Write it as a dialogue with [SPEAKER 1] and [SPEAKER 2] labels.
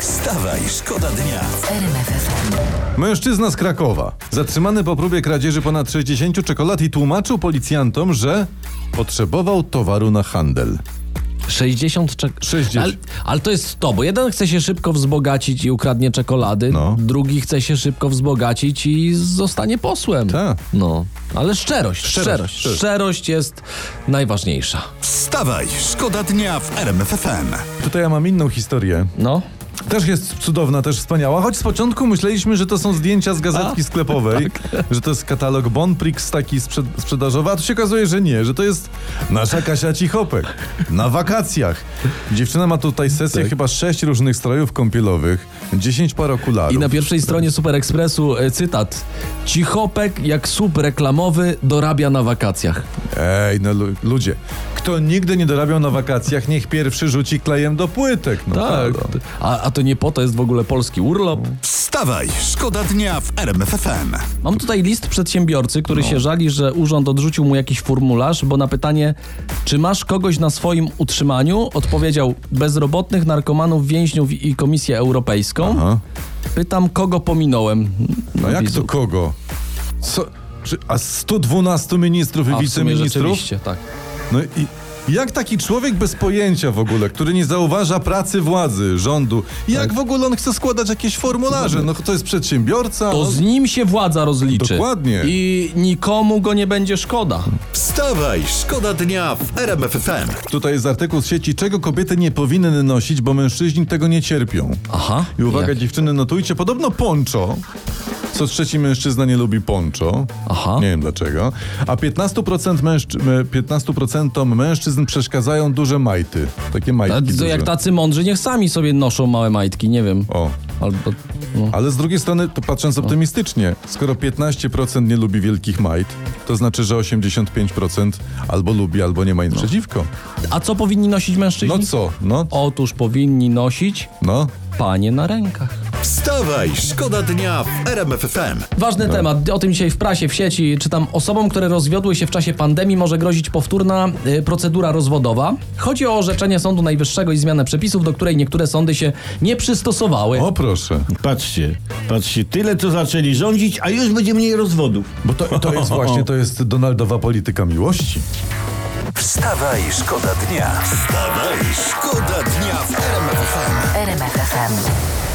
[SPEAKER 1] Wstawaj, szkoda dnia.
[SPEAKER 2] Mężczyzna z Krakowa, zatrzymany po próbie kradzieży ponad 60 czekolad i tłumaczył policjantom, że potrzebował towaru na handel.
[SPEAKER 3] 60 czek...
[SPEAKER 2] 60.
[SPEAKER 3] Ale, ale to jest to, bo jeden chce się szybko wzbogacić i ukradnie czekolady,
[SPEAKER 2] No.
[SPEAKER 3] drugi chce się szybko wzbogacić i zostanie posłem.
[SPEAKER 2] Tak.
[SPEAKER 3] No, ale szczerość,
[SPEAKER 2] Szczerość,
[SPEAKER 3] szczerość, szczerość,
[SPEAKER 2] szczerość.
[SPEAKER 3] jest najważniejsza.
[SPEAKER 1] Wstawaj, szkoda dnia w RMFFM.
[SPEAKER 2] Tutaj ja mam inną historię.
[SPEAKER 3] No.
[SPEAKER 2] Też jest cudowna, też wspaniała, choć z początku myśleliśmy, że to są zdjęcia z gazetki sklepowej,
[SPEAKER 3] tak.
[SPEAKER 2] że to jest katalog Bonprix taki sprze- sprzedażowy, a tu się okazuje, że nie, że to jest nasza Kasia Cichopek na wakacjach. Dziewczyna ma tutaj sesję
[SPEAKER 3] Tak.
[SPEAKER 2] chyba sześć różnych strojów kąpielowych, 10 par okularów.
[SPEAKER 3] I na pierwszej stronie Super Expressu e, cytat. Cichopek jak słup reklamowy dorabia na wakacjach.
[SPEAKER 2] Ej, no lu- ludzie, kto nigdy nie dorabiał na wakacjach, niech pierwszy rzuci klejem do płytek. No,
[SPEAKER 3] Tak.
[SPEAKER 2] prawda.
[SPEAKER 3] A, a to nie po to jest w ogóle polski urlop.
[SPEAKER 1] Wstawaj, szkoda dnia w RMFFM.
[SPEAKER 3] Mam tutaj list przedsiębiorcy, który
[SPEAKER 2] No.
[SPEAKER 3] się żali, że urząd odrzucił mu jakiś formularz, bo na pytanie, czy masz kogoś na swoim utrzymaniu, odpowiedział bezrobotnych, narkomanów, więźniów i Komisję Europejską.
[SPEAKER 2] Aha.
[SPEAKER 3] Pytam, kogo pominąłem.
[SPEAKER 2] no jak to
[SPEAKER 3] Widzów.
[SPEAKER 2] kogo? Co? Czy- A 112 ministrów
[SPEAKER 3] A,
[SPEAKER 2] i
[SPEAKER 3] w sumie
[SPEAKER 2] wiceministrów?
[SPEAKER 3] rzeczywiście, tak.
[SPEAKER 2] No i jak taki człowiek bez pojęcia w ogóle, który nie zauważa pracy władzy, rządu,
[SPEAKER 3] Tak.
[SPEAKER 2] jak w ogóle on chce składać jakieś formularze? No to jest przedsiębiorca.
[SPEAKER 3] To
[SPEAKER 2] on-
[SPEAKER 3] z nim się władza rozliczy.
[SPEAKER 2] No. Dokładnie.
[SPEAKER 3] I nikomu go nie będzie szkoda.
[SPEAKER 1] Wstawaj, szkoda dnia w RMFFM.
[SPEAKER 2] Tutaj jest artykuł z sieci, czego kobiety nie powinny nosić, bo mężczyźni tego nie cierpią.
[SPEAKER 3] Aha.
[SPEAKER 2] I uwaga,
[SPEAKER 3] jak?
[SPEAKER 2] dziewczyny, notujcie, podobno poncho. Co trzeci mężczyzna nie lubi poncho.
[SPEAKER 3] Aha.
[SPEAKER 2] Nie wiem dlaczego. A 15%, mężczy... e, 15 mężczyzn przeszkadzają duże majty. Takie majtki
[SPEAKER 3] A to
[SPEAKER 2] duże.
[SPEAKER 3] jak tacy mądrzy, niech sami sobie noszą małe majtki, nie wiem.
[SPEAKER 2] O.
[SPEAKER 3] Albo, no.
[SPEAKER 2] Ale z drugiej strony, to patrząc optymistycznie, skoro 15% nie lubi wielkich majt, to znaczy, że 85% albo lubi, albo nie ma nic przeciwko.
[SPEAKER 3] A co powinni nosić mężczyźni?
[SPEAKER 2] No co? No,
[SPEAKER 3] Otóż powinni nosić
[SPEAKER 2] no.
[SPEAKER 3] panie na rękach.
[SPEAKER 1] Wstawaj, szkoda dnia w RMFFM.
[SPEAKER 3] Ważny temat, o tym dzisiaj w prasie, w sieci czytam. Osobom, które rozwiodły się w czasie pandemii może grozić powtórna y, procedura rozwodowa. Chodzi o orzeczenie Sądu Najwyższego i zmianę przepisów, do której niektóre sądy się nie przystosowały.
[SPEAKER 2] O proszę.
[SPEAKER 4] Patrzcie, patrzcie, tyle co zaczęli rządzić, a już będzie mniej rozwodów.
[SPEAKER 2] Bo to, to jest właśnie, to jest Donaldowa polityka miłości.
[SPEAKER 1] Wstawaj, szkoda dnia. Wstawaj, szkoda dnia w RMFFM.
[SPEAKER 5] RMFFM.